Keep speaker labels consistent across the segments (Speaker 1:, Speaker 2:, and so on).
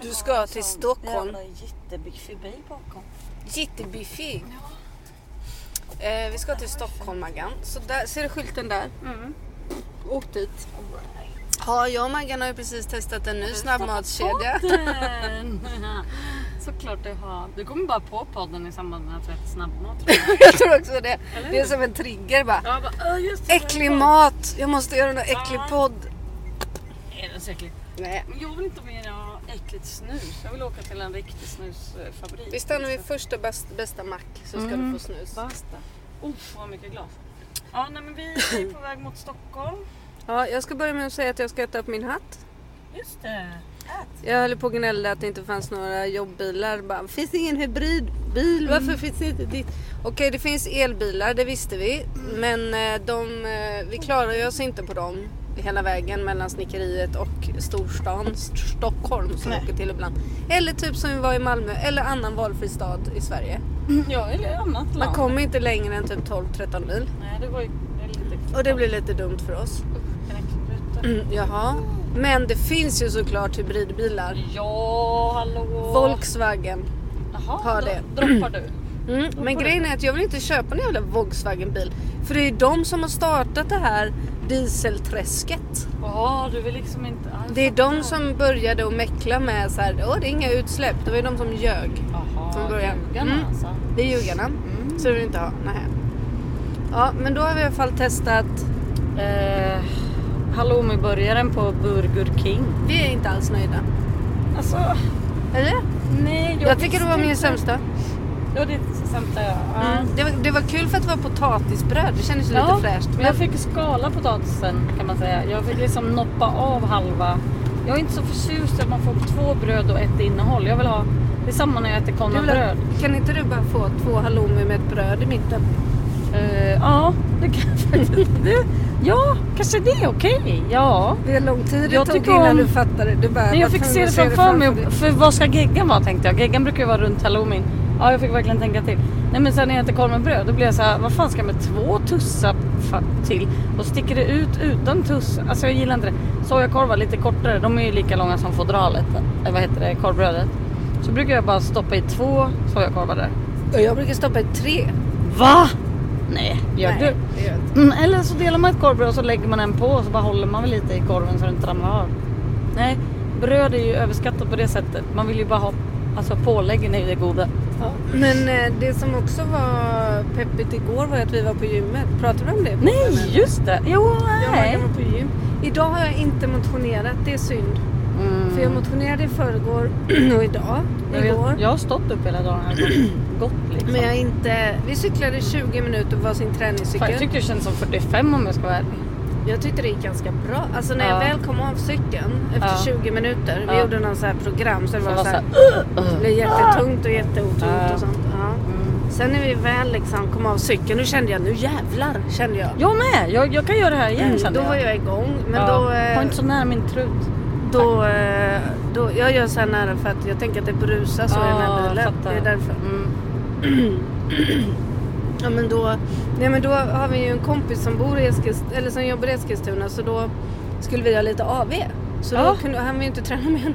Speaker 1: Du ska till Stockholm.
Speaker 2: Jävla jättebyxfobi bakom.
Speaker 1: Jitterbiffig. Eh, vi ska till Stockholm Maggan. Så där, ser du skylten där?
Speaker 2: Mm.
Speaker 1: Åk dit. Ja, jag och Maggan har ju precis testat en ny snabbmatskedja.
Speaker 2: Podden! Såklart du har. Du kommer bara på podden i samband med att vi äter snabbmat. tror jag.
Speaker 1: jag tror också det.
Speaker 2: Eller
Speaker 1: Det är
Speaker 2: hur?
Speaker 1: som en trigger bara.
Speaker 2: Jag bara, "Åh, just det,
Speaker 1: Äcklig
Speaker 2: det var
Speaker 1: mat! Jag måste göra en äcklig
Speaker 2: Ja.
Speaker 1: podd.
Speaker 2: det." Är det så äckligt?
Speaker 1: Nej.
Speaker 2: Men jag vill inte mer ha äckligt snus. Jag vill åka till en riktig snusfabrik.
Speaker 1: Vi stannar vid första bäst- bästa mack så ska
Speaker 2: Mm.
Speaker 1: du få snus.
Speaker 2: Basta. Uff vad mycket glas. Ja nej men vi är på väg mot Stockholm.
Speaker 1: Ja, jag ska börja med att säga att jag ska äta upp min hatt.
Speaker 2: Just det. Ät.
Speaker 1: Jag höll på och gnällde att det inte fanns några jobbbilar. Bara, finns det ingen hybridbil? Varför finns det inte ditt? Okej, det finns elbilar, det visste vi. Men eh, de, eh, vi klarar ju oss inte på dem hela vägen mellan snickeriet och storstan St- Stockholm som vi
Speaker 2: Nej.
Speaker 1: åker till ibland. Eller typ som vi var i Malmö eller annan valfri stad i Sverige.
Speaker 2: Ja eller annat land.
Speaker 1: Man kommer inte längre än typ 12-13 mil
Speaker 2: Nej det var ju väldigt
Speaker 1: och det blir lite dumt för oss. Mm, jaha, men det finns ju såklart hybridbilar.
Speaker 2: Ja hallå.
Speaker 1: Volkswagen.
Speaker 2: Jaha,
Speaker 1: har
Speaker 2: då
Speaker 1: det.
Speaker 2: droppar du.
Speaker 1: Mm, men
Speaker 2: får
Speaker 1: grejen är att jag vill inte köpa en jävla Volkswagen-bil. För det är ju de som har startat det här dieselträsket.
Speaker 2: Ja du vill liksom inte. Ja, jag
Speaker 1: Det är de
Speaker 2: fattar.
Speaker 1: som började att mäckla med så här, åh det är inga utsläpp. Det var ju de som ljög.
Speaker 2: Jaha,
Speaker 1: från början.
Speaker 2: ljugarna
Speaker 1: Mm.
Speaker 2: alltså.
Speaker 1: Det är ljugarna.
Speaker 2: Mm.
Speaker 1: Så det vill vi inte ha. Nähä. Ja, men då har vi i alla fall testat.
Speaker 2: Eh, halloumiburgaren på Burger King.
Speaker 1: Vi är inte alls nöjda.
Speaker 2: Alltså
Speaker 1: Eller? Jag,
Speaker 2: nej.
Speaker 1: tycker det
Speaker 2: visste
Speaker 1: var min
Speaker 2: inte.
Speaker 1: sämsta.
Speaker 2: Ja det är det sämsta jag. Ja.
Speaker 1: Mm. Det, var, det var kul för att det var potatisbröd. Det kändes ju
Speaker 2: Ja,
Speaker 1: lite fräscht.
Speaker 2: Men jag fick skala potatisen kan man säga. Jag fick liksom noppa av halva. Jag är inte så förtjust i att man får två bröd och ett innehåll. Jag vill ha, det är samma när jag äter
Speaker 1: Jag vill
Speaker 2: konnabröd.
Speaker 1: ha- kan inte du bara få två halloumi med ett bröd i mitten?
Speaker 2: Eh, ja, det kan jag faktiskt. Det, ja, kanske det är okej. Ja.
Speaker 1: Det är lång tid det
Speaker 2: Jag
Speaker 1: tog
Speaker 2: tycker
Speaker 1: innan
Speaker 2: om-
Speaker 1: du fattade. Du bara,
Speaker 2: Men jag
Speaker 1: Eh, vad
Speaker 2: fick
Speaker 1: fan,
Speaker 2: se
Speaker 1: du
Speaker 2: det
Speaker 1: ser
Speaker 2: framför mig.
Speaker 1: dig.
Speaker 2: För vad ska geggan vara tänkte jag. Geggan brukar ju vara runt halloumin. Ja, jag fick verkligen tänka till. Nej men sen när jag äter korv med bröd då blir jag så här, vad fan ska jag med två tussar fa- till? Och sticker det ut utan tuss. Alltså jag gillar inte det. Sojakorvar lite kortare, de är ju lika långa som fodralet. Eller vad heter det, korvbrödet. Så brukar jag bara stoppa i två sojakorvar där.
Speaker 1: Och jag brukar stoppa i tre.
Speaker 2: Va? Nej, gör
Speaker 1: Nej,
Speaker 2: du?
Speaker 1: det gör jag inte.
Speaker 2: Mm, eller så delar man ett korvbröd och så lägger man en på och så bara håller man väl lite i korven så den inte ramlar av. Nej, bröd är ju överskattat på det sättet. Man vill ju bara ha, alltså påläggen är ju det goda.
Speaker 1: Men eh, det som också var peppigt igår var att vi var på gymmet. Pratade vi om det?
Speaker 2: Nej, just det! Jo,
Speaker 1: Jag och
Speaker 2: nej.
Speaker 1: Maggan var på gym. Idag har jag inte motionerat. Det är synd. För jag motionerade i förrgår och idag.
Speaker 2: Mm. Jag,
Speaker 1: Igår.
Speaker 2: vet- jag har stått upp hela dagen och gått- gått liksom.
Speaker 1: Men jag är inte... Vi cyklade 20 minuter på
Speaker 2: Fan,
Speaker 1: varsin
Speaker 2: jag
Speaker 1: träningscykel.
Speaker 2: tycker det känns som 45 om jag ska vara ärlig.
Speaker 1: Jag tyckte det gick ganska bra. Alltså när jag
Speaker 2: Ja.
Speaker 1: väl kom av cykeln efter
Speaker 2: Ja.
Speaker 1: 20 minuter. Vi
Speaker 2: Ja.
Speaker 1: gjorde någon så här program så det
Speaker 2: Så
Speaker 1: var,
Speaker 2: bara
Speaker 1: så
Speaker 2: så
Speaker 1: här,
Speaker 2: här,
Speaker 1: Det blev jättetungt och jätteotungt
Speaker 2: Ja.
Speaker 1: och sånt. Ja. Sen när vi väl liksom kom av cykeln, då kände jag nu jävlar kände jag.
Speaker 2: Jag med! Jag, jag kan göra det här igen kände
Speaker 1: Mm, Då var jag igång. Men då,
Speaker 2: Var
Speaker 1: eh,
Speaker 2: inte så nära min trut.
Speaker 1: då, eh, då... Jag gör så här nära för att jag tänker att det brusar så i den
Speaker 2: Ja,
Speaker 1: här bilen.
Speaker 2: fattar.
Speaker 1: Det är därför.
Speaker 2: Mm.
Speaker 1: Ja men då, nej, men då har vi ju en kompis som, bor i Eskilstuna, eller som jobbar i Eskilstuna så då skulle vi ha lite AV. Så då
Speaker 2: Ja.
Speaker 1: kunde, hann vi ju inte träna med henne.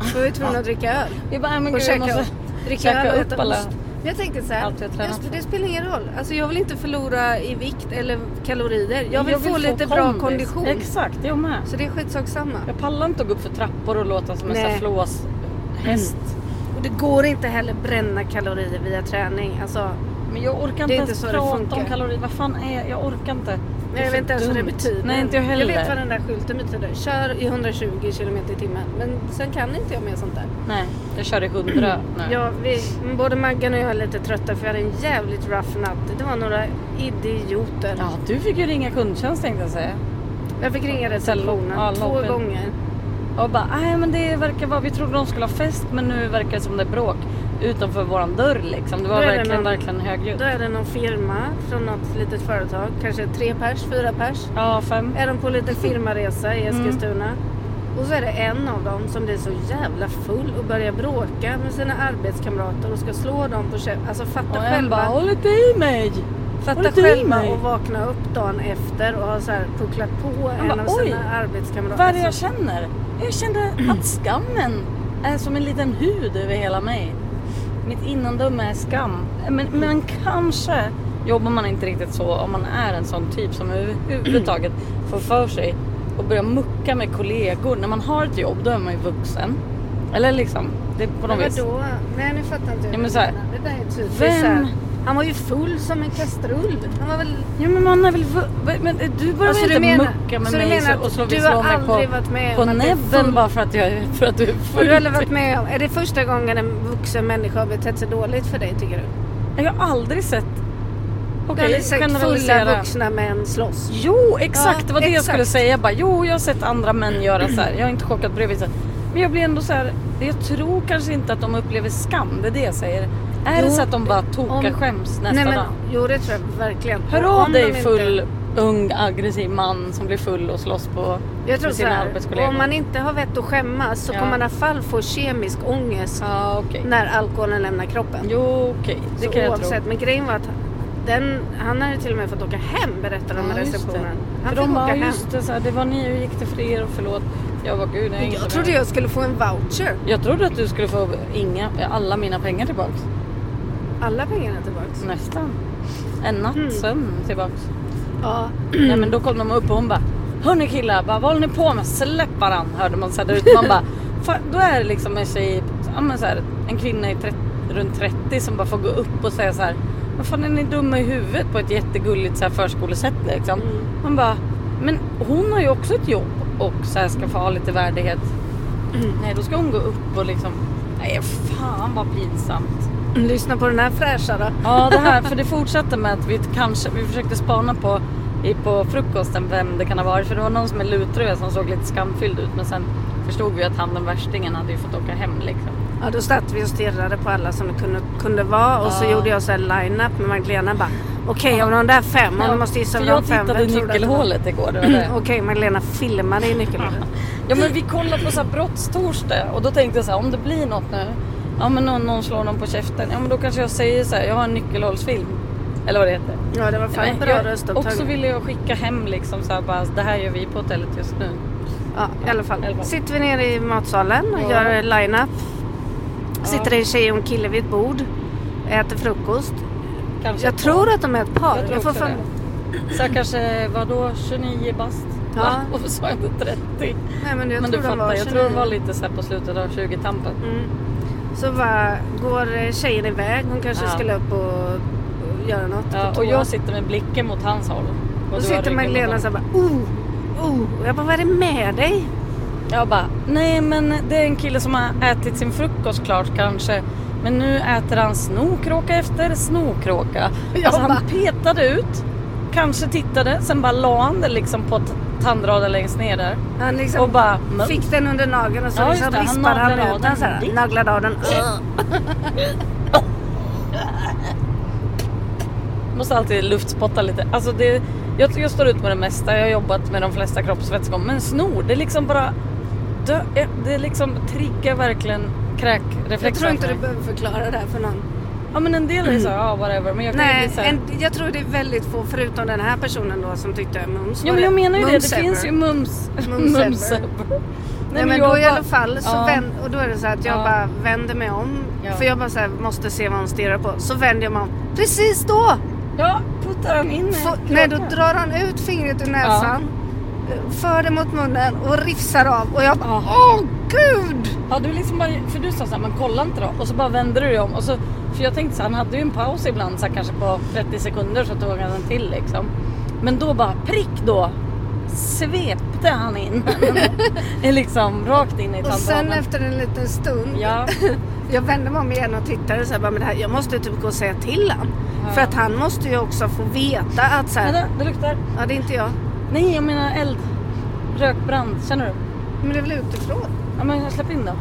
Speaker 1: För vi var tvungna att dricka öl.
Speaker 2: Jag bara, äh, men
Speaker 1: Och
Speaker 2: gud, jag
Speaker 1: käka,
Speaker 2: måste...
Speaker 1: dricka
Speaker 2: käka
Speaker 1: öl och
Speaker 2: upp
Speaker 1: äta
Speaker 2: alla-
Speaker 1: ost. Men jag tänker så här,
Speaker 2: allt jag tränat
Speaker 1: det, det spelar ingen roll. Alltså jag vill inte förlora i vikt eller kalorier. Jag vill, få, lite bra
Speaker 2: kondis.
Speaker 1: kondition.
Speaker 2: Exakt, jag med.
Speaker 1: Så det är skitsak samma.
Speaker 2: Jag pallar inte att gå upp för trappor och låta som en
Speaker 1: Nej.
Speaker 2: sån här flåshäst.
Speaker 1: Och det går inte heller bränna kalorier via träning. Alltså,
Speaker 2: Men jag orkar inte
Speaker 1: Det är
Speaker 2: ens
Speaker 1: inte så det
Speaker 2: prata om
Speaker 1: funkar.
Speaker 2: kalorier. Vad fan är jag? orkar inte. Det är för
Speaker 1: jag vet inte ens vad det
Speaker 2: dumt.
Speaker 1: betyder.
Speaker 2: Nej, inte jag heller.
Speaker 1: Jag vet vad den där skylten betyder. Kör i 120 kilometer i timmen. Men sen kan inte jag mer sånt där.
Speaker 2: Nej, jag kör i hundra nu.
Speaker 1: Ja, vi, både Maggan och jag är lite trötta för jag hade en jävligt rough natt. Det var några idioter.
Speaker 2: Ja, du fick ju ringa kundtjänst tänkte jag säga.
Speaker 1: Jag fick ringa receptionen
Speaker 2: Ja,
Speaker 1: två
Speaker 2: lobbyn.
Speaker 1: gånger.
Speaker 2: Och bara, nej men det verkar vara, vi trodde de skulle ha fest men nu verkar det som det är bråk utanför våran dörr liksom. Det var
Speaker 1: Då är det
Speaker 2: verkligen,
Speaker 1: någon-
Speaker 2: verkligen högljutt.
Speaker 1: Då är det någon firma från något litet företag, kanske tre pers, fyra pers.
Speaker 2: Ja, fem.
Speaker 1: Är de på en liten firmaresa
Speaker 2: Mm.
Speaker 1: i Eskilstuna. Och så är det en av dem som blir så jävla full och börjar bråka med sina arbetskamrater och ska slå dem på käften. Alltså fatta
Speaker 2: Och en
Speaker 1: själva.
Speaker 2: bara, håll inte i mig!
Speaker 1: Fatta
Speaker 2: Håll inte i
Speaker 1: själva
Speaker 2: mig.
Speaker 1: och vakna upp dagen efter och ha så här pucklat på en
Speaker 2: bara,
Speaker 1: av
Speaker 2: "Oj,
Speaker 1: sina arbetskamrater.
Speaker 2: Vad är det jag
Speaker 1: Så-
Speaker 2: känner? Jag kände att skammen är som en liten hud över hela mig. Mitt innandöme är skam. Men, men kanske jobbar man inte riktigt så om man är en sån typ som överhuvudtaget får för sig och börjar mucka med kollegor. När man har ett jobb då är man ju vuxen. Eller liksom, det är på något
Speaker 1: Men
Speaker 2: vis.
Speaker 1: vadå? Nej nu fattar inte jag.
Speaker 2: Ja, men så här,
Speaker 1: det där är typiskt
Speaker 2: vem-
Speaker 1: så här. Han var ju full som en kastrull. Han var väl...
Speaker 2: Ja men man är väl vu- men eh, Alltså, du börjar väl inte mucka med
Speaker 1: så Alltså, du
Speaker 2: mig
Speaker 1: menar
Speaker 2: så- och slå,
Speaker 1: att du
Speaker 2: slå
Speaker 1: har
Speaker 2: mig
Speaker 1: aldrig
Speaker 2: på,
Speaker 1: varit med
Speaker 2: på
Speaker 1: om att det är full-
Speaker 2: näbben bara för att, jag, för att du är
Speaker 1: Har
Speaker 2: full?
Speaker 1: du aldrig varit med om... Är det första gången en vuxen människa har betett sig dåligt för dig tycker du?
Speaker 2: Jag har aldrig sett...
Speaker 1: Du har
Speaker 2: Okej,
Speaker 1: aldrig sett fulla
Speaker 2: generalisera.
Speaker 1: vuxna män slåss?
Speaker 2: Jo, exakt.
Speaker 1: Ja,
Speaker 2: det var det jag
Speaker 1: exakt.
Speaker 2: skulle säga. Jag bara, jo, jag har sett andra män göra så här. Jag har inte chockat bredvid. Så här. Men jag blir ändå så här. Jag tror kanske inte att de upplever skam. Det är det jag säger. Är det
Speaker 1: Jo,
Speaker 2: så att de bara tokar
Speaker 1: om-
Speaker 2: skäms nästa
Speaker 1: Nej, men,
Speaker 2: dag?
Speaker 1: Jo det tror jag verkligen.
Speaker 2: Hör
Speaker 1: Och
Speaker 2: av
Speaker 1: om de
Speaker 2: dig
Speaker 1: inte-
Speaker 2: full, ung, aggressiv man som blir full och slåss på
Speaker 1: Jag tror
Speaker 2: med
Speaker 1: så
Speaker 2: sina
Speaker 1: här,
Speaker 2: arbetskollegor.
Speaker 1: om man inte har vett att skämmas så
Speaker 2: Ja.
Speaker 1: kommer man i alla fall få kemisk ångest
Speaker 2: Ja, okej.
Speaker 1: när alkoholen lämnar kroppen.
Speaker 2: Jo, okej. Det
Speaker 1: så
Speaker 2: kan jag tro.
Speaker 1: oavsett, men grejen var att den, han hade till och med fått åka hem berättar de
Speaker 2: Ja,
Speaker 1: i
Speaker 2: just det.
Speaker 1: receptionen.
Speaker 2: För
Speaker 1: Han fick
Speaker 2: de
Speaker 1: åka
Speaker 2: bara,
Speaker 1: hem.
Speaker 2: just det, så här, det var ni och gick det för er och förlåt. Jag var gud, jag, är inte
Speaker 1: Jag
Speaker 2: med."
Speaker 1: trodde jag skulle få en voucher.
Speaker 2: jag trodde att du skulle få inga, alla mina pengar tillbaks.
Speaker 1: Alla pengarna tillbaks.
Speaker 2: Nästan. En natts sömn tillbaks.
Speaker 1: Ja.
Speaker 2: Nej men då kom de upp och hon bara Hörni killar, bara, vad håller ni på med? Släpp varann hörde man såhär där ute. Man bara, "Fan, då är det liksom en tjej, ja, men så här, en kvinna i 30, runt 30 som bara får gå upp och säga så här. Vad fan är ni dumma i huvudet på ett jättegulligt så här, förskolesätt liksom.
Speaker 1: Mm.
Speaker 2: Man bara, men hon har ju också ett jobb och så här, ska få ha lite värdighet. Nej då ska hon gå upp och liksom, nej fan vad pinsamt.
Speaker 1: Mm, Lyssna på den här fräscha då.
Speaker 2: Ja, det här, för det fortsatte med att vi kanske, vi försökte spana på i, på frukosten vem det kan ha varit. För det var någon som är lutröd som såg lite skamfylld ut. Men sen förstod vi att han den värstingen hade ju fått åka hem liksom.
Speaker 1: Ja, då satt vi och stirrade på alla som det kunde, kunde vara och så
Speaker 2: Ja.
Speaker 1: gjorde jag så här line-up med Magdalena bara Okej, av de där fem, om du måste gissa
Speaker 2: för
Speaker 1: av
Speaker 2: jag
Speaker 1: de fem,
Speaker 2: tittade i
Speaker 1: vem tror du att det var?" Mm,
Speaker 2: nyckelhålet igår. Det var det.
Speaker 1: Okej, Magdalena filmade i nyckelhålet.
Speaker 2: Ja men vi kollade på så här brottstorsdag och då tänkte jag så här om det blir något nu. Ja men någon, någon slår någon på käften. Ja men då kanske jag säger så här, jag har en nyckelhålsfilm. Eller vad det heter.
Speaker 1: Ja, det var fan
Speaker 2: Nej,
Speaker 1: bra
Speaker 2: jag,
Speaker 1: röstupptagning.
Speaker 2: också ville jag skicka hem liksom så här bara, det här gör vi på hotellet just nu.
Speaker 1: Ja, i alla fall.
Speaker 2: I alla fall.
Speaker 1: Sitter vi nere i matsalen och
Speaker 2: Ja.
Speaker 1: gör line-up. Sitter en tjej och en kille vid ett bord. Äter frukost.
Speaker 2: Kanske
Speaker 1: Jag
Speaker 2: ett
Speaker 1: tror att de är ett par.
Speaker 2: Jag tror
Speaker 1: får
Speaker 2: också
Speaker 1: fan-
Speaker 2: det. Så jag kanske var då 29 bast?
Speaker 1: Ja.
Speaker 2: Va? Varför sa jag inte 30?
Speaker 1: Nej, men jag
Speaker 2: men
Speaker 1: tror
Speaker 2: du
Speaker 1: de var
Speaker 2: fattar, jag tror de
Speaker 1: 29.
Speaker 2: var lite så här på slutet av 20-tampen.
Speaker 1: Mm. Så bara går eh, tjejen iväg. Hon kanske
Speaker 2: Ja.
Speaker 1: skulle upp och och göra något. på
Speaker 2: Ja, och
Speaker 1: toa.
Speaker 2: jag sitter med blicken mot hans håll. Och du har
Speaker 1: Då sitter
Speaker 2: ryggen mot
Speaker 1: Magdalena
Speaker 2: honom.
Speaker 1: så här bara oh, oh. Och jag bara vad är det med dig?
Speaker 2: Jag bara, nej men det är en kille som har ätit sin frukost klart kanske. Men nu äter han snokråka efter snokråka.
Speaker 1: Jag
Speaker 2: Alltså han
Speaker 1: bara-
Speaker 2: petade ut, kanske tittade, sen bara la han det liksom på t- tandraden längst ner där.
Speaker 1: Han liksom
Speaker 2: Och bara, "Men."
Speaker 1: fick den under nageln och så
Speaker 2: Ja, just
Speaker 1: liksom
Speaker 2: det. Han
Speaker 1: vispade han
Speaker 2: naglade av
Speaker 1: ut den
Speaker 2: den.
Speaker 1: så här. Naglade av den.
Speaker 2: Måste alltid luftspotta lite. Alltså det, jag, jag står ut med det mesta. Jag har jobbat med de flesta kroppsvätskor. Men snor, det liksom bara... dö- Det liksom triggar verkligen kräkreflexen.
Speaker 1: Jag tror inte
Speaker 2: för
Speaker 1: du
Speaker 2: mig.
Speaker 1: behöver förklara det här för någon.
Speaker 2: Ja men en del är så här, ja whatever. Men jag kan ju
Speaker 1: Nej,
Speaker 2: bli så här,
Speaker 1: en, jag tror det är väldigt få förutom den här personen då som tyckte mums
Speaker 2: Ja
Speaker 1: var
Speaker 2: men jag menar ju det. Det
Speaker 1: Mumsever.
Speaker 2: finns ju mums...
Speaker 1: Mumsever.
Speaker 2: Nej,
Speaker 1: Nej, men
Speaker 2: jag
Speaker 1: då i
Speaker 2: bara-
Speaker 1: alla fall så
Speaker 2: Ja.
Speaker 1: vänd, och då är det så här att jag
Speaker 2: Ja.
Speaker 1: bara vänder mig om.
Speaker 2: Ja.
Speaker 1: För jag bara så här, måste se vad hon stirrar på. Så vänder jag mig om. Precis då!
Speaker 2: Ja, puttar han in mig i
Speaker 1: Få, nej, då
Speaker 2: kroppen?
Speaker 1: drar han ut fingret ur näsan. eh, För det mot munnen och rifsar av. Och jag bara,
Speaker 2: Ja.
Speaker 1: åh gud!
Speaker 2: Ja, du liksom bara, för du sa såhär, men kolla inte då. Och så bara vände du dig om. Och så, för jag tänkte så här, han hade ju en paus ibland, så här, kanske på 30 sekunder så tog han en till liksom. Men då bara prick då svepte han in liksom rakt in i
Speaker 1: Och sen
Speaker 2: tandraden.
Speaker 1: efter en liten stund.
Speaker 2: Ja,
Speaker 1: Jag vände mig om igen och tittade så här, bara, men det här, jag måste typ gå och säga till han.
Speaker 2: Ja.
Speaker 1: För att han måste ju också få veta att så här,
Speaker 2: vänta, det luktar.
Speaker 1: ja det är inte jag.
Speaker 2: Nej, jag menar eld. Rökbrand, känner du?
Speaker 1: Men det är väl utifrån?
Speaker 2: Ja, men släpp in då.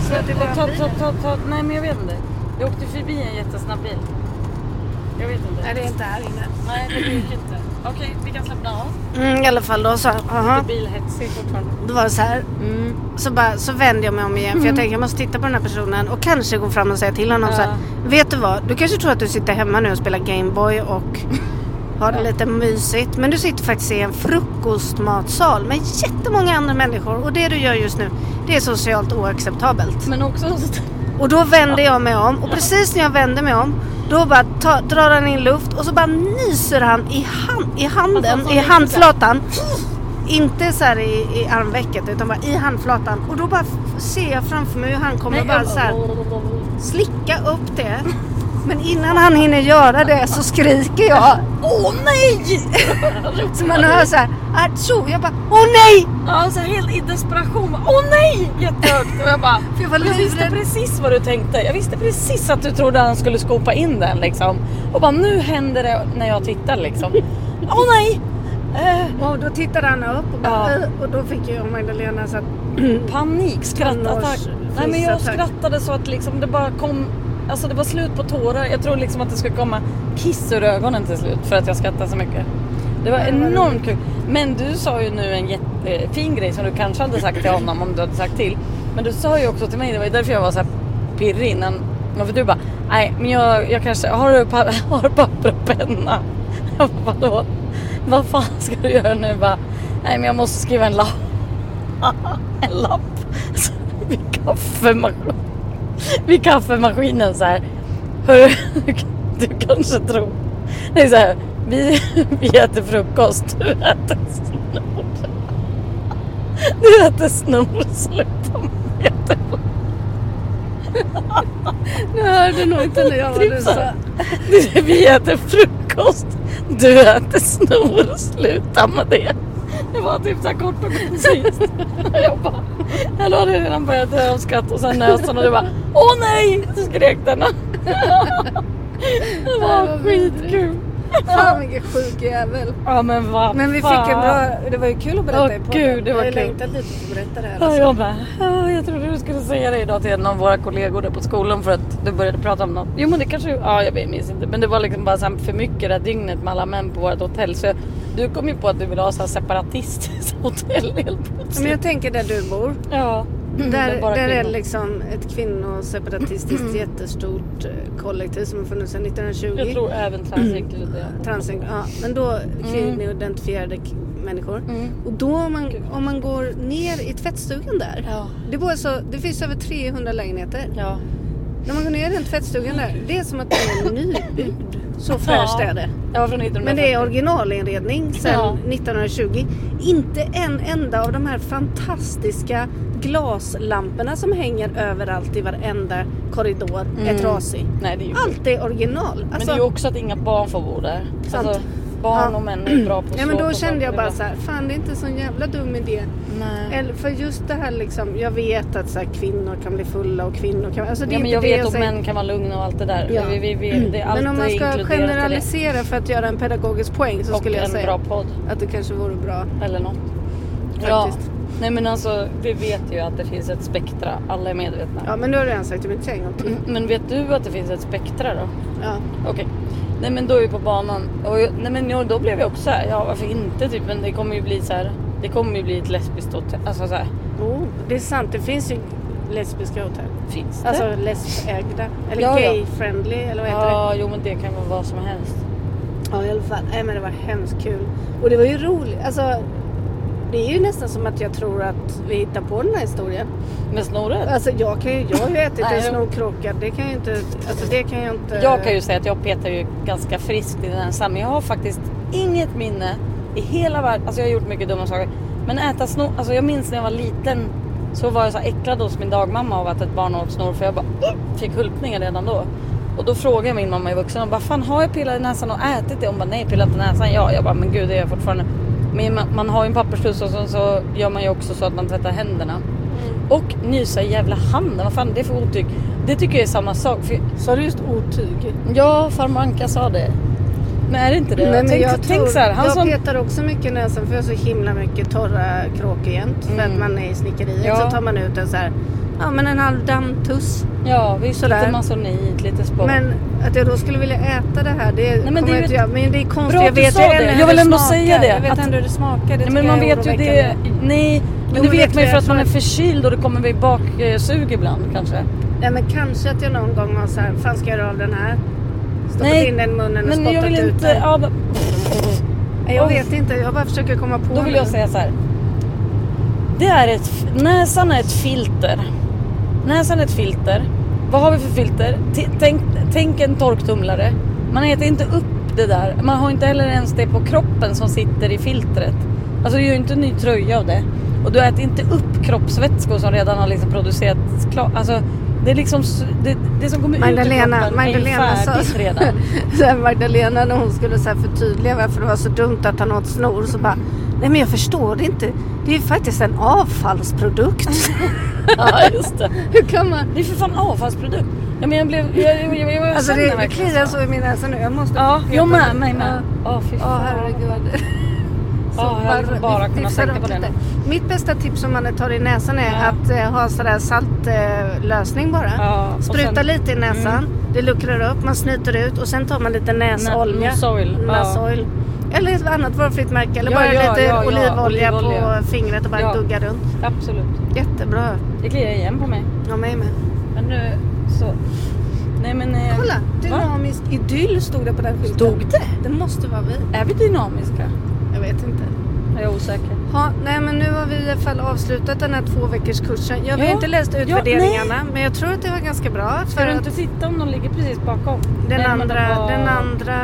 Speaker 1: Så att det
Speaker 2: Och
Speaker 1: var
Speaker 2: ta, ta,
Speaker 1: bilen.
Speaker 2: ta, ta, nej men jag vet inte. Jag åkte förbi en jättesnabb bil. Jag vet inte.
Speaker 1: Nej det är inte här inne.
Speaker 2: Nej, det gick inte. Okej, vi kan slappna av.
Speaker 1: Mm, I alla fall då så, aha.
Speaker 2: Bilhetsig fortfarande.
Speaker 1: Då var det så här.
Speaker 2: Mm.
Speaker 1: Så, bara, så vände jag mig om igen för jag tänker jag måste titta på den här personen och kanske gå fram och säga till honom
Speaker 2: Ja.
Speaker 1: så här. Vet du vad? Du kanske tror att du sitter hemma nu och spelar Gameboy och Har det lite mysigt. Men du sitter faktiskt i en frukostmatsal med jättemånga andra människor och det du gör just nu det är socialt oacceptabelt.
Speaker 2: Men också
Speaker 1: Och då vände jag mig om och precis när jag vände mig om då bara ta, drar han in luft och så bara nyser han i, hand, i
Speaker 2: Fast han
Speaker 1: handen,
Speaker 2: sa
Speaker 1: i
Speaker 2: det
Speaker 1: handflatan. Inte så här i, i armvecket utan bara i handflatan. Och då bara f- ser jag framför mig hur han kommer och bara så här slicka upp det. Men innan han hinner göra det så skriker jag Åh nej! Så man hör så här, "Atjo!" Jag bara Åh nej!
Speaker 2: Ja, så här helt i desperation. bara, Åh nej! Jättehögt. Och jag bara...
Speaker 1: För jag var
Speaker 2: Jag visste
Speaker 1: livrädd.
Speaker 2: precis vad du tänkte. Jag visste precis att du trodde att han skulle skopa in den liksom. Och bara nu händer det när jag tittar liksom. Åh nej! Eh,
Speaker 1: Och då tittade han upp och, bara,
Speaker 2: Ja.
Speaker 1: "Åh!" och då fick jag och Magdalena så att
Speaker 2: panik, skrattattack.
Speaker 1: Tonårs-
Speaker 2: Nej men jag
Speaker 1: frissattack.
Speaker 2: skrattade så att liksom det bara kom, alltså det var slut på tårar. Jag tror liksom att det skulle komma kiss ur ögonen till slut för att jag skrattade så mycket. Det var
Speaker 1: det var
Speaker 2: enormt kul. Men du sa ju nu en jättefin grej som du kanske hade sagt till honom om du hade sagt till. Men du sa ju också till mig, det var ju därför jag var så här pirrig innan. Ja, För du bara, nej men jag, jag kanske, har du, pa- har du papper och penna? Jag bara, vadå? Vad fan ska du göra nu? Bara, nej men jag måste skriva en lapp en lapp så- vid, kaffemaskin, vid kaffemaskinen så här. Hörru, du, du kanske tror. Det är så här, vi, vi äter frukost, du äter snor. Du äter snor, sluta med det.
Speaker 1: Nu hörde nog inte jag
Speaker 2: Typ
Speaker 1: vad du sa.
Speaker 2: Du, Vi äter frukost, du äter snor, sluta med det. Det var typ så här kort och koncist. Och Jag bara, eller hade jag redan börjat dö av skratt och sen nös hon och du bara, åh nej, så skrek den. Det var skitkul.
Speaker 1: Fan vilken sjuk jävel.
Speaker 2: Ja men vad
Speaker 1: Men vi fick
Speaker 2: fan.
Speaker 1: en bra, det var ju kul att berätta
Speaker 2: Åh,
Speaker 1: i podden.
Speaker 2: gud, det var
Speaker 1: jag har
Speaker 2: kul.
Speaker 1: längtat lite till att berätta det här.
Speaker 2: Ja,
Speaker 1: alltså.
Speaker 2: jag bara, "Ah, jag trodde du skulle säga det idag till en av våra kollegor där på skolan för att du började prata om något. Jo men det kanske, ja jag vet, minns inte. Men det var liksom bara så här för mycket det här dygnet med alla män på vårt hotell. Så jag- du kom ju på att du ville ha så här separatistiskt hotell helt
Speaker 1: Men
Speaker 2: plötsligt.
Speaker 1: jag tänker där du bor.
Speaker 2: Ja.
Speaker 1: Där,
Speaker 2: Men Mm, bara
Speaker 1: där är
Speaker 2: kvinnor. Mm.
Speaker 1: det liksom ett kvinnoseparatistiskt jättestort eh, kollektiv som har funnits sedan 1920.
Speaker 2: Jag tror även transinkluderade.
Speaker 1: Transen, ja, men då kvinnoidentifierade k- människor.
Speaker 2: Mm.
Speaker 1: Och då om man, om man går ner i tvättstugan där.
Speaker 2: Ja.
Speaker 1: Det, bor alltså, det finns över 300 lägenheter.
Speaker 2: Ja.
Speaker 1: När man går ner i den tvättstugan där, det är som att det är nybyggd. Så fräscht är det.
Speaker 2: Ja från 1940.
Speaker 1: Men det är originalinredning sedan
Speaker 2: Ja.
Speaker 1: 1920. Inte en enda av de här fantastiska glaslamporna som hänger överallt i varenda korridor är trasig.
Speaker 2: Nej det är ju
Speaker 1: Allt är original.
Speaker 2: Mm. Men
Speaker 1: Alltså,
Speaker 2: det är ju också att inga barn får bo där.
Speaker 1: Sant.
Speaker 2: Alltså, barn
Speaker 1: Ja.
Speaker 2: och män är bra på att
Speaker 1: Nej men
Speaker 2: slå
Speaker 1: då
Speaker 2: på
Speaker 1: kände jag
Speaker 2: saker
Speaker 1: bara så här, fan det är inte så jävla dum idé.
Speaker 2: Nej.
Speaker 1: Eller för just det här liksom, jag vet att så här, kvinnor kan bli fulla och kvinnor kan... Alltså det är
Speaker 2: Ja, men
Speaker 1: inte
Speaker 2: jag
Speaker 1: det
Speaker 2: vet att
Speaker 1: säger.
Speaker 2: män kan vara lugna och allt det där.
Speaker 1: Ja.
Speaker 2: Vi, vi, vi, det är alltid
Speaker 1: Men om man ska
Speaker 2: inkluderat i det.
Speaker 1: generalisera för att göra en pedagogisk poäng så
Speaker 2: Och
Speaker 1: skulle jag
Speaker 2: en
Speaker 1: säga
Speaker 2: bra podd
Speaker 1: att det kanske vore bra.
Speaker 2: eller något.
Speaker 1: Faktiskt.
Speaker 2: Ja. Nej men alltså vi vet ju att det finns ett spektra. Alla är medvetna. Mm.
Speaker 1: Ja men nu har du redan sagt det, men tänk om
Speaker 2: Men vet du att det finns ett spektra då?
Speaker 1: Ja.
Speaker 2: Okej. Nej men då är vi på banan. Och jag, nej men jag, då blev jag också så här. Ja varför inte typ. Men det kommer ju bli så här. Det kommer ju bli ett lesbiskt hotell. Alltså så här.
Speaker 1: Jo, Oh, det är sant. Det finns ju lesbiska hotell.
Speaker 2: Finns det?
Speaker 1: Alltså lesbägda. Eller
Speaker 2: Ja, ja.
Speaker 1: gay-friendly eller vad heter det?
Speaker 2: ja jo men det kan vara vad som helst.
Speaker 1: Ja, i alla fall. Nej, men det var hemskt kul. Och det var ju roligt. Alltså, det är ju nästan som att jag tror att vi hittar på den här historien.
Speaker 2: Med snoret.
Speaker 1: Alltså jag kan ju, jag har ju ätit
Speaker 2: Nej,
Speaker 1: en
Speaker 2: jo.
Speaker 1: snorkråka. Det kan jag ju inte, alltså det kan jag inte.
Speaker 2: Jag kan ju säga att jag petar ju ganska friskt i den här sanden. Jag har faktiskt inget minne i hela världen. Alltså jag har gjort mycket dumma saker. Men äta snor. Alltså jag minns när jag var liten. Så var jag så här äcklad hos min dagmamma av att ett barn åt snor. För jag bara "Ugh!" fick hulpningar redan då. Och då frågade jag min mamma i vuxen. och bara fan har jag pillat i näsan och ätit det? Hon bara nej pillat i näsan. Ja jag bara men gud det är jag fortfarande. Men man, man har ju en papperstuss och sen så gör man ju också så att man tvättar händerna.
Speaker 1: Mm.
Speaker 2: Och nysa i jävla handen. Vad fan det är för otyg. Det tycker jag är samma sak. För
Speaker 1: Sa du just otyg?
Speaker 2: Ja, farmor Anka sa det. Men är det inte det?
Speaker 1: Nej, men
Speaker 2: tänk,
Speaker 1: jag
Speaker 2: tänk
Speaker 1: tror-
Speaker 2: så här, han
Speaker 1: jag
Speaker 2: som...
Speaker 1: petar också mycket i näsan för jag har så himla mycket torra kråkor jämt. För
Speaker 2: Mm.
Speaker 1: att man är i snickeriet
Speaker 2: Ja.
Speaker 1: så tar man ut en så här, ja men en halv dammtuss.
Speaker 2: Ja, visst.
Speaker 1: Sådär.
Speaker 2: Lite masonit, lite spår.
Speaker 1: Men att jag då skulle vilja äta det här, det
Speaker 2: men det är
Speaker 1: kommer
Speaker 2: ju
Speaker 1: jag inte göra. Men det är konstigt,
Speaker 2: Bra
Speaker 1: jag
Speaker 2: att du
Speaker 1: vet
Speaker 2: sa
Speaker 1: ju
Speaker 2: det.
Speaker 1: ändå hur
Speaker 2: Jag vill ändå
Speaker 1: smakar.
Speaker 2: säga det,
Speaker 1: Jag vet
Speaker 2: att-
Speaker 1: ändå hur det smakar. Det
Speaker 2: Nej, men
Speaker 1: tycker
Speaker 2: man
Speaker 1: jag är
Speaker 2: vet ju det.
Speaker 1: oroväckande.
Speaker 2: Nej, men
Speaker 1: Jo,
Speaker 2: det
Speaker 1: det
Speaker 2: vet man ju
Speaker 1: tror
Speaker 2: för
Speaker 1: jag
Speaker 2: att man är förkyld och det kommer vid baksug ibland kanske.
Speaker 1: Nej men kanske att jag någon gång har såhär, fan ska jag göra av den här? Stoppat
Speaker 2: Nej,
Speaker 1: in den i munnen och
Speaker 2: Men jag
Speaker 1: spottat
Speaker 2: vill
Speaker 1: ut
Speaker 2: inte...
Speaker 1: den.
Speaker 2: Ja, men... pff,
Speaker 1: Nej, Jag
Speaker 2: Oj.
Speaker 1: vet inte, jag bara försöker komma på
Speaker 2: Då vill
Speaker 1: nu.
Speaker 2: jag säga så här. Det är ett, f- näsan är ett filter. Näsan är ett filter. Vad har vi för filter? T- tänk, tänk en torktumlare. Man äter inte upp det där. Man har inte heller ens det på kroppen som sitter i filtret. Alltså du gör ju inte en ny tröja av det. Och du äter inte upp kroppsvätskor som redan har liksom producerats klart. Alltså det är liksom s- det, det som kommer
Speaker 1: Magdalena-
Speaker 2: ut ur kroppen
Speaker 1: Magdalena
Speaker 2: är ju
Speaker 1: sa-
Speaker 2: färdigt redan.
Speaker 1: Så här, Magdalena när hon skulle så här förtydliga varför det var så dumt att han åt snor så bara Nej men jag förstår det inte. Det är ju faktiskt en avfallsprodukt.
Speaker 2: ja just det.
Speaker 1: Hur kan man?
Speaker 2: Det är för fan avfallsprodukt. Ja, men jag blev... Jag, jag, jag, jag, jag
Speaker 1: Alltså
Speaker 2: känner
Speaker 1: det, det
Speaker 2: verkligen
Speaker 1: kliar
Speaker 2: så.
Speaker 1: så i min näsa nu. Jag måste...
Speaker 2: Ja,
Speaker 1: peta
Speaker 2: jag med,
Speaker 1: på-
Speaker 2: mig med.
Speaker 1: Ja.
Speaker 2: Åh fy
Speaker 1: Åh
Speaker 2: fan.
Speaker 1: herregud. Så
Speaker 2: Ja, jag hade bara kunnat
Speaker 1: nifsar
Speaker 2: tänka på
Speaker 1: runt
Speaker 2: det
Speaker 1: lite. Mitt bästa tips om man tar i näsan är
Speaker 2: Ja.
Speaker 1: att eh, ha sådär saltlösning eh, bara.
Speaker 2: Ja, och
Speaker 1: Spruta
Speaker 2: sen- Mm.
Speaker 1: lite i näsan, det luckrar upp, man snyter ut och sen tar man lite näsolja.
Speaker 2: nasoil, ja.
Speaker 1: Nasoil. Eller ett annat varufritt märke eller
Speaker 2: Ja,
Speaker 1: bara
Speaker 2: ja,
Speaker 1: lite
Speaker 2: ja, ja,
Speaker 1: olivolja,
Speaker 2: olivolja.
Speaker 1: på fingret och bara
Speaker 2: Ja.
Speaker 1: gugga runt.
Speaker 2: Absolut.
Speaker 1: Jättebra.
Speaker 2: Det kliar igen på mig.
Speaker 1: Ja, mig med.
Speaker 2: Men nu så... Nej men... eh,
Speaker 1: Kolla!
Speaker 2: Va?
Speaker 1: Dynamisk idyll stod det på den skylten.
Speaker 2: Stod det?
Speaker 1: Det måste vara vi.
Speaker 2: Är vi dynamiska?
Speaker 1: Jag vet inte.
Speaker 2: Jag är osäker.
Speaker 1: Ja, nej men nu har vi i alla fall avslutat den här två veckors kursen. Jag har
Speaker 2: Ja.
Speaker 1: inte läst
Speaker 2: Ja,
Speaker 1: utvärderingarna men jag tror att det var ganska bra.
Speaker 2: Ska
Speaker 1: För
Speaker 2: du
Speaker 1: att
Speaker 2: inte titta om de ligger precis bakom?
Speaker 1: den,
Speaker 2: Nej, men de
Speaker 1: andra,
Speaker 2: var-
Speaker 1: den andra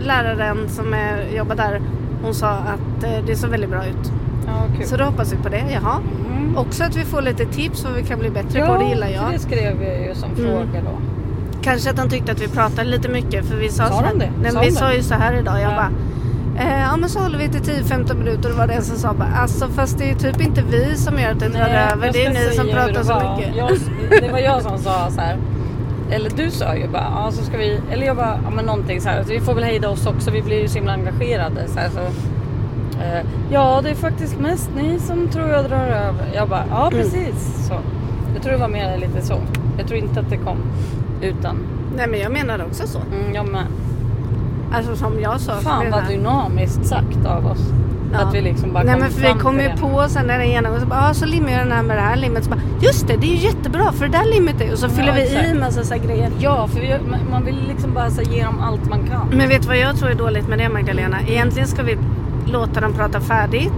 Speaker 1: läraren som är, jobbar där hon sa att eh, det såg väldigt bra ut.
Speaker 2: Ja, kul.
Speaker 1: Så då hoppas vi på det. Jaha.
Speaker 2: Mm.
Speaker 1: Också att vi får lite tips vad vi kan bli bättre
Speaker 2: Ja,
Speaker 1: på. Det gillar jag. Mm.
Speaker 2: det skrev jag ju som fråga då.
Speaker 1: Kanske att de tyckte att vi pratade lite mycket för vi sa,
Speaker 2: Sa
Speaker 1: så här,
Speaker 2: de det?
Speaker 1: Nej,
Speaker 2: Sa
Speaker 1: men vi
Speaker 2: de
Speaker 1: sa
Speaker 2: det?
Speaker 1: ju så här idag. Jag
Speaker 2: Ja.
Speaker 1: bara, eh, ja men så håller vi till 10-15 minuter och var det en som sa bara, alltså fast det är typ inte vi som gör att det drar
Speaker 2: Nej,
Speaker 1: över.
Speaker 2: jag
Speaker 1: Det är
Speaker 2: ska
Speaker 1: ni som
Speaker 2: säga hur
Speaker 1: pratar
Speaker 2: det
Speaker 1: så
Speaker 2: var.
Speaker 1: mycket.
Speaker 2: Jag, det var jag som sa så här. Eller du sa ju bara, ja så ska vi, eller jag bara, ja men någonting så här. Vi får väl hejda oss också, vi blir ju så himla engagerade. Så här, så, eh, ja det är faktiskt mest ni som tror jag drar över. Jag bara, ja
Speaker 1: Mm.
Speaker 2: precis så. Jag tror det var mer lite så. Jag tror inte att det kom utan.
Speaker 1: Nej men jag menar också så.
Speaker 2: Mm, jag med.
Speaker 1: Alltså som jag sa. för
Speaker 2: Fan
Speaker 1: mina-
Speaker 2: vad dynamiskt sagt av oss.
Speaker 1: Ja.
Speaker 2: Att vi liksom bara
Speaker 1: Nej
Speaker 2: kom
Speaker 1: men för vi
Speaker 2: fram
Speaker 1: kom
Speaker 2: till
Speaker 1: ju
Speaker 2: det.
Speaker 1: på sen när den ena och så bara, ah, så limmar jag den här med det här limmet. Så bara, just det, det är ju jättebra för det där limmet är och så
Speaker 2: Ja,
Speaker 1: fyller vi i
Speaker 2: exakt.
Speaker 1: massa så här grejer.
Speaker 2: Ja, för vi, man vill liksom bara så här, ge dem allt man kan.
Speaker 1: Men vet du vad jag tror är dåligt med det Magdalena? Egentligen ska vi låta dem prata färdigt,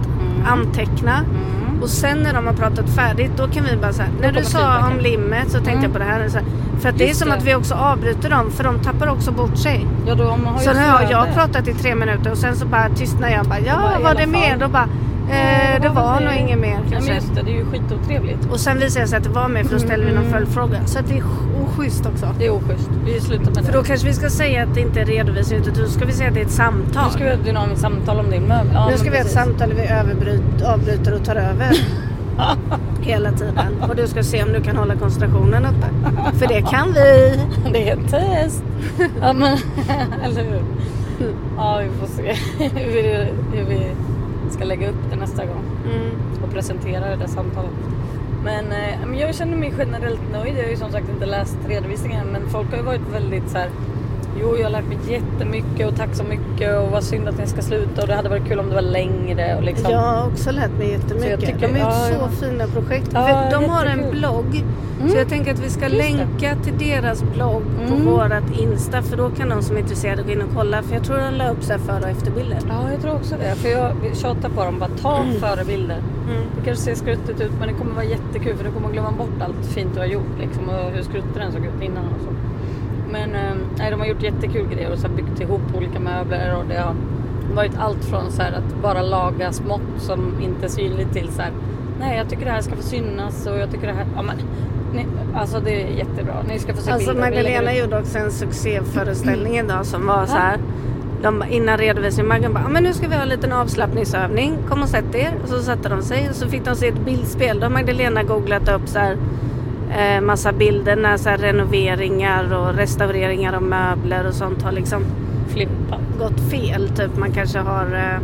Speaker 1: anteckna
Speaker 2: Mm.
Speaker 1: och sen när de har pratat färdigt då kan vi bara säga när du
Speaker 2: kommer
Speaker 1: sa
Speaker 2: feedbacken."
Speaker 1: om limmet så tänkte
Speaker 2: Mm.
Speaker 1: jag på det här. och Så här. För att det är
Speaker 2: Just
Speaker 1: som
Speaker 2: det.
Speaker 1: att vi också avbryter dem för de tappar också bort sig.
Speaker 2: Ja, då, man har
Speaker 1: Så
Speaker 2: ju
Speaker 1: nu har
Speaker 2: flöde.
Speaker 1: jag pratat i tre minuter och sen så bara tystnar jag och bara ja
Speaker 2: bara, "I
Speaker 1: var
Speaker 2: alla
Speaker 1: det mer?
Speaker 2: fall."
Speaker 1: Då bara eh, det var nog inget mer
Speaker 2: Nej,
Speaker 1: kanske.
Speaker 2: men just det, det är ju skitotrevligt.
Speaker 1: Och sen visade det sig att det var med för då ställde
Speaker 2: Mm.
Speaker 1: vi någon följdfråga. Så att det är oschysst också.
Speaker 2: Det är oschysst. Vi slutar med det.
Speaker 1: För då kanske vi ska säga att det inte är redovisning utan då ska vi säga att det är ett samtal.
Speaker 2: nu ska vi ha ett dynamiskt samtal om din möbel. Ja,
Speaker 1: nu ska
Speaker 2: men
Speaker 1: vi ha
Speaker 2: precis.
Speaker 1: ett samtal där vi överbryt, avbryter och tar över. Hela tiden. Och du ska se om du kan hålla koncentrationen uppe. För det kan vi.
Speaker 2: Det är ett test. ja, men eller hur?
Speaker 1: Mm.
Speaker 2: Ja, vi får se hur vi, hur vi ska lägga upp det nästa gång
Speaker 1: Mm.
Speaker 2: och presentera det där samtalet. Men eh, men jag känner mig generellt nöjd. Jag har ju som sagt inte läst redovisningen men folk har ju varit väldigt så här. Jo, jag har lärt mig jättemycket och tack så mycket och vad synd att ni ska sluta och det hade varit kul om det var längre och liksom.
Speaker 1: Jag har också lärt mig
Speaker 2: Så
Speaker 1: jättemycket.
Speaker 2: jag tycker-
Speaker 1: de är
Speaker 2: ja,
Speaker 1: så
Speaker 2: ja.
Speaker 1: fina projekt.
Speaker 2: Ja,
Speaker 1: För de har en
Speaker 2: jättekul.
Speaker 1: blogg. Så
Speaker 2: Mm.
Speaker 1: jag tänker att vi ska
Speaker 2: Just det.
Speaker 1: länka till deras blogg på
Speaker 2: Mm.
Speaker 1: vårat Insta. För då kan de som är intresserade gå in och kolla. För jag tror de la upp så här före och efterbilder.
Speaker 2: Ja, jag tror också det. För jag tjatar på dem, bara ta förebilder.
Speaker 1: Mm.
Speaker 2: Det kanske ser skruttigt ut men det kommer vara jättekul för du kommer glömma bort allt fint du har gjort liksom och hur skruttig den såg ut innan och så. Men eh, nej, de har gjort jättekul grejer och så har byggt ihop olika möbler och det har varit allt från så här att bara laga smått som inte är synligt till så här nej jag tycker det här ska få synas och jag tycker det här, ja men ni, alltså det är jättebra. Ni ska få se
Speaker 1: Alltså
Speaker 2: bilder. Vi lägger
Speaker 1: Magdalena
Speaker 2: ut-
Speaker 1: gjorde också en succéföreställning idag som var så här. De, bara- innan redovisningen, Maggan bara, "Ah, men nu ska vi ha en liten avslappningsövning, kom och sätt er. Och så satte de sig och så fick de se ett bildspel. Då har Magdalena googlat upp så här, eh, massa bilder när så här, renoveringar och restaureringar av möbler och sånt har liksom
Speaker 2: flippa.
Speaker 1: gått fel. Typ man kanske har eh,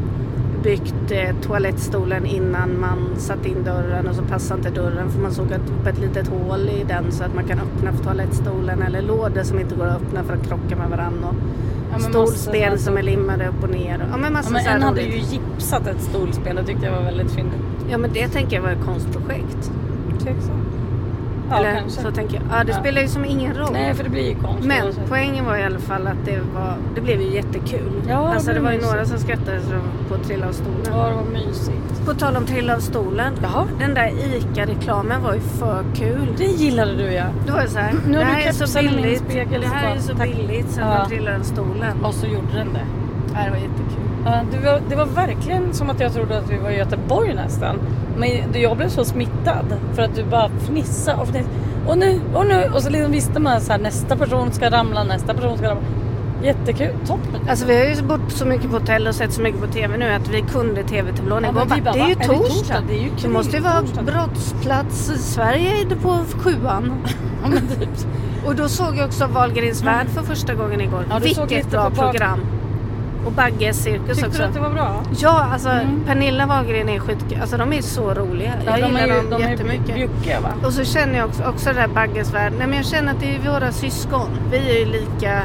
Speaker 1: byggt eh, toalettstolen innan man satte in dörren och så passade inte dörren för man såg att upp ett litet hål i den så att man kan öppna för toalettstolen eller lådor som inte går att öppna för att krocka med varandra.
Speaker 2: Ja, men
Speaker 1: Och stolspel
Speaker 2: massa-
Speaker 1: som är limmade upp och ner. Ja men
Speaker 2: Ja,
Speaker 1: massa
Speaker 2: men
Speaker 1: så här
Speaker 2: en hade
Speaker 1: roligt.
Speaker 2: ju gipsat ett stolspel, det tyckte jag var väldigt fyndigt.
Speaker 1: Ja men det tänker jag var ett konstprojekt.
Speaker 2: Tveksamt. Ja,
Speaker 1: Eller
Speaker 2: kanske.
Speaker 1: så tänker jag. Ja, det
Speaker 2: Ja.
Speaker 1: spelar ju som ingen roll.
Speaker 2: Nej för det blir ju konstigt.
Speaker 1: Men
Speaker 2: Alltså.
Speaker 1: poängen var i alla fall att det, var, det blev ju jättekul.
Speaker 2: Ja, det
Speaker 1: alltså det
Speaker 2: blev
Speaker 1: var ju
Speaker 2: mysigt.
Speaker 1: några som skrattade så de på att trilla av stolen.
Speaker 2: Ja det var mysigt.
Speaker 1: På tal om trilla av stolen.
Speaker 2: Jaha.
Speaker 1: Den där ICA-reklamen var ju för kul.
Speaker 2: Det gillade du ja.
Speaker 1: Då var det så här,
Speaker 2: Nu
Speaker 1: det
Speaker 2: har du
Speaker 1: här är så
Speaker 2: kepsen i min
Speaker 1: billigt.
Speaker 2: spegel,
Speaker 1: det här är
Speaker 2: så
Speaker 1: så
Speaker 2: tack.
Speaker 1: billigt så
Speaker 2: Ja.
Speaker 1: man trillar av stolen.
Speaker 2: Och så gjorde den det.
Speaker 1: Ja, det var jättekul.
Speaker 2: Ja, det, var, det var verkligen som att jag trodde att vi var i Göteborg nästan. Men jag blev så smittad för att du bara fnissade och fnissade. Och nu, och nu. Och så liksom visste man så här nästa person ska ramla, nästa person ska ramla. Jättekul, toppen.
Speaker 1: Alltså vi har ju bott så mycket på hotell och sett så mycket på TV nu att vi kunde TV-tablån.
Speaker 2: Ja,
Speaker 1: Jag bara,
Speaker 2: men vi bara,
Speaker 1: det är ju
Speaker 2: va? Är det
Speaker 1: torsdag.
Speaker 2: torsdag? Det är ju krig,
Speaker 1: måste ju vara
Speaker 2: torsdag.
Speaker 1: brottsplats i Sverige på sjuan.
Speaker 2: Ja, men typ.
Speaker 1: Och då såg jag också Wahlgrens värld för första gången igår.
Speaker 2: Ja, du såg
Speaker 1: Vilket
Speaker 2: lite
Speaker 1: bra
Speaker 2: på bak-
Speaker 1: program. Och Bagges cirkus
Speaker 2: Tyckte
Speaker 1: också.
Speaker 2: du att det var bra?
Speaker 1: Ja, alltså Pernilla Wahlgren är skitkul. Alltså de är så roliga. Jag gillar dem
Speaker 2: Mm. de är
Speaker 1: jättemycket.
Speaker 2: bjuckiga va?
Speaker 1: och så känner jag också, också det här Bagges värld. Nej men jag känner att det är våra syskon. Vi är ju lika...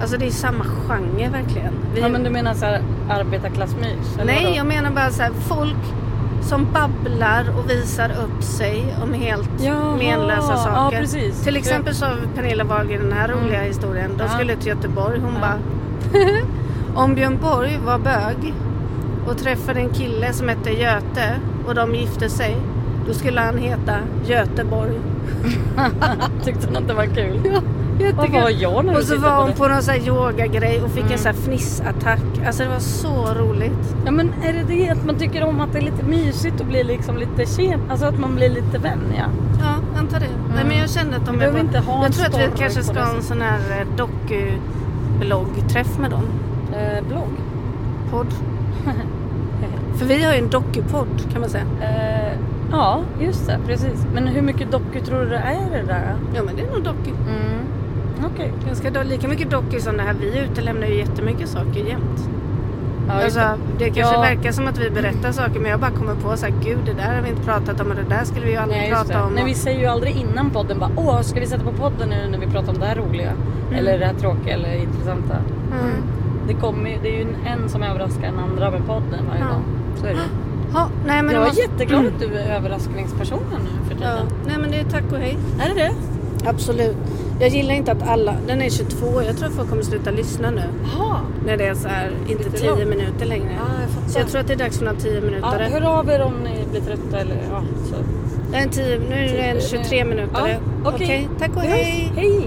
Speaker 1: Alltså det är samma genre verkligen. Vi...
Speaker 2: Ja men du menar såhär arbetarklassmys? eller vadå?
Speaker 1: Nej, jag menar bara så här, folk som babblar och visar upp sig om helt
Speaker 2: Jaha.
Speaker 1: menlösa
Speaker 2: Ja,
Speaker 1: saker.
Speaker 2: precis. Mm.
Speaker 1: Till exempel så har Pernilla Wahlgren den här roliga historien. De
Speaker 2: Ja.
Speaker 1: skulle till Göteborg. Hon bara... om Björn Borg var bög och träffade en kille som hette Göte och de gifte sig. Då skulle han heta Göteborg.
Speaker 2: Tyckte hon att det var kul?
Speaker 1: Ja,
Speaker 2: Vad var jag när du
Speaker 1: Och så
Speaker 2: tittade
Speaker 1: var
Speaker 2: på
Speaker 1: hon
Speaker 2: det? Mm.
Speaker 1: på någon sån här yogagrej och fick en sån här fnissattack. Alltså det var så roligt.
Speaker 2: Ja men är det det att man tycker om att det är lite mysigt och blir liksom lite tjen, alltså att man blir lite vän ja.
Speaker 1: Ja, antar det. Nej, men jag kände att de
Speaker 2: Vi behöver
Speaker 1: var-
Speaker 2: inte ha en
Speaker 1: Jag tror att vi
Speaker 2: story
Speaker 1: kanske
Speaker 2: på
Speaker 1: ska
Speaker 2: det
Speaker 1: ha en sån här eh, doku-bloggträff med dem.
Speaker 2: Eh, blogg.
Speaker 1: Podd. För vi har ju en dokupodd kan man säga.
Speaker 2: Eh, ja just det, precis. Men hur mycket doku tror du det är det där? då?
Speaker 1: Ja men det är nog doku.
Speaker 2: Mm. Okej.
Speaker 1: Ganska do- lika mycket doku som det här. Vi utelämnar ju jättemycket saker jämt.
Speaker 2: Ja, just
Speaker 1: alltså,
Speaker 2: det.
Speaker 1: det kanske
Speaker 2: Ja.
Speaker 1: verkar som att vi berättar saker men jag bara kommer på så här, gud det där har vi inte pratat om och det där skulle vi ju aldrig
Speaker 2: Nej, just
Speaker 1: prata
Speaker 2: det.
Speaker 1: om.
Speaker 2: Nej,
Speaker 1: och-
Speaker 2: vi säger ju aldrig innan podden bara åh ska vi sätta på podden nu när vi pratar om det här roliga eller det här tråkiga eller intressanta.
Speaker 1: Mm.
Speaker 2: Det, kommer, ju- det är ju en- en som överraskar den andra med podden varje
Speaker 1: Ja.
Speaker 2: dag. Så är det. ju.
Speaker 1: Ja, nej, men
Speaker 2: Jag
Speaker 1: det
Speaker 2: är
Speaker 1: måste-
Speaker 2: jätteglad att du är överraskningspersonen nu för
Speaker 1: Ja.
Speaker 2: tiden.
Speaker 1: Nej men det är tack och hej.
Speaker 2: Är det det?
Speaker 1: Absolut. Jag gillar inte att alla, den är 22, jag tror folk kommer sluta lyssna nu.
Speaker 2: Jaha.
Speaker 1: När det är så här, inte
Speaker 2: Lite
Speaker 1: 10
Speaker 2: långt.
Speaker 1: minuter längre.
Speaker 2: Ja, jag fattar.
Speaker 1: Så jag tror att det är dags för några 10
Speaker 2: Ja,
Speaker 1: minuter.
Speaker 2: hör av er om ni blir trötta eller ja. Så.
Speaker 1: Det är en 10, nu är det en 23 minuter.
Speaker 2: Ja, okej.
Speaker 1: Tack och
Speaker 2: Puss.
Speaker 1: hej.
Speaker 2: Hej!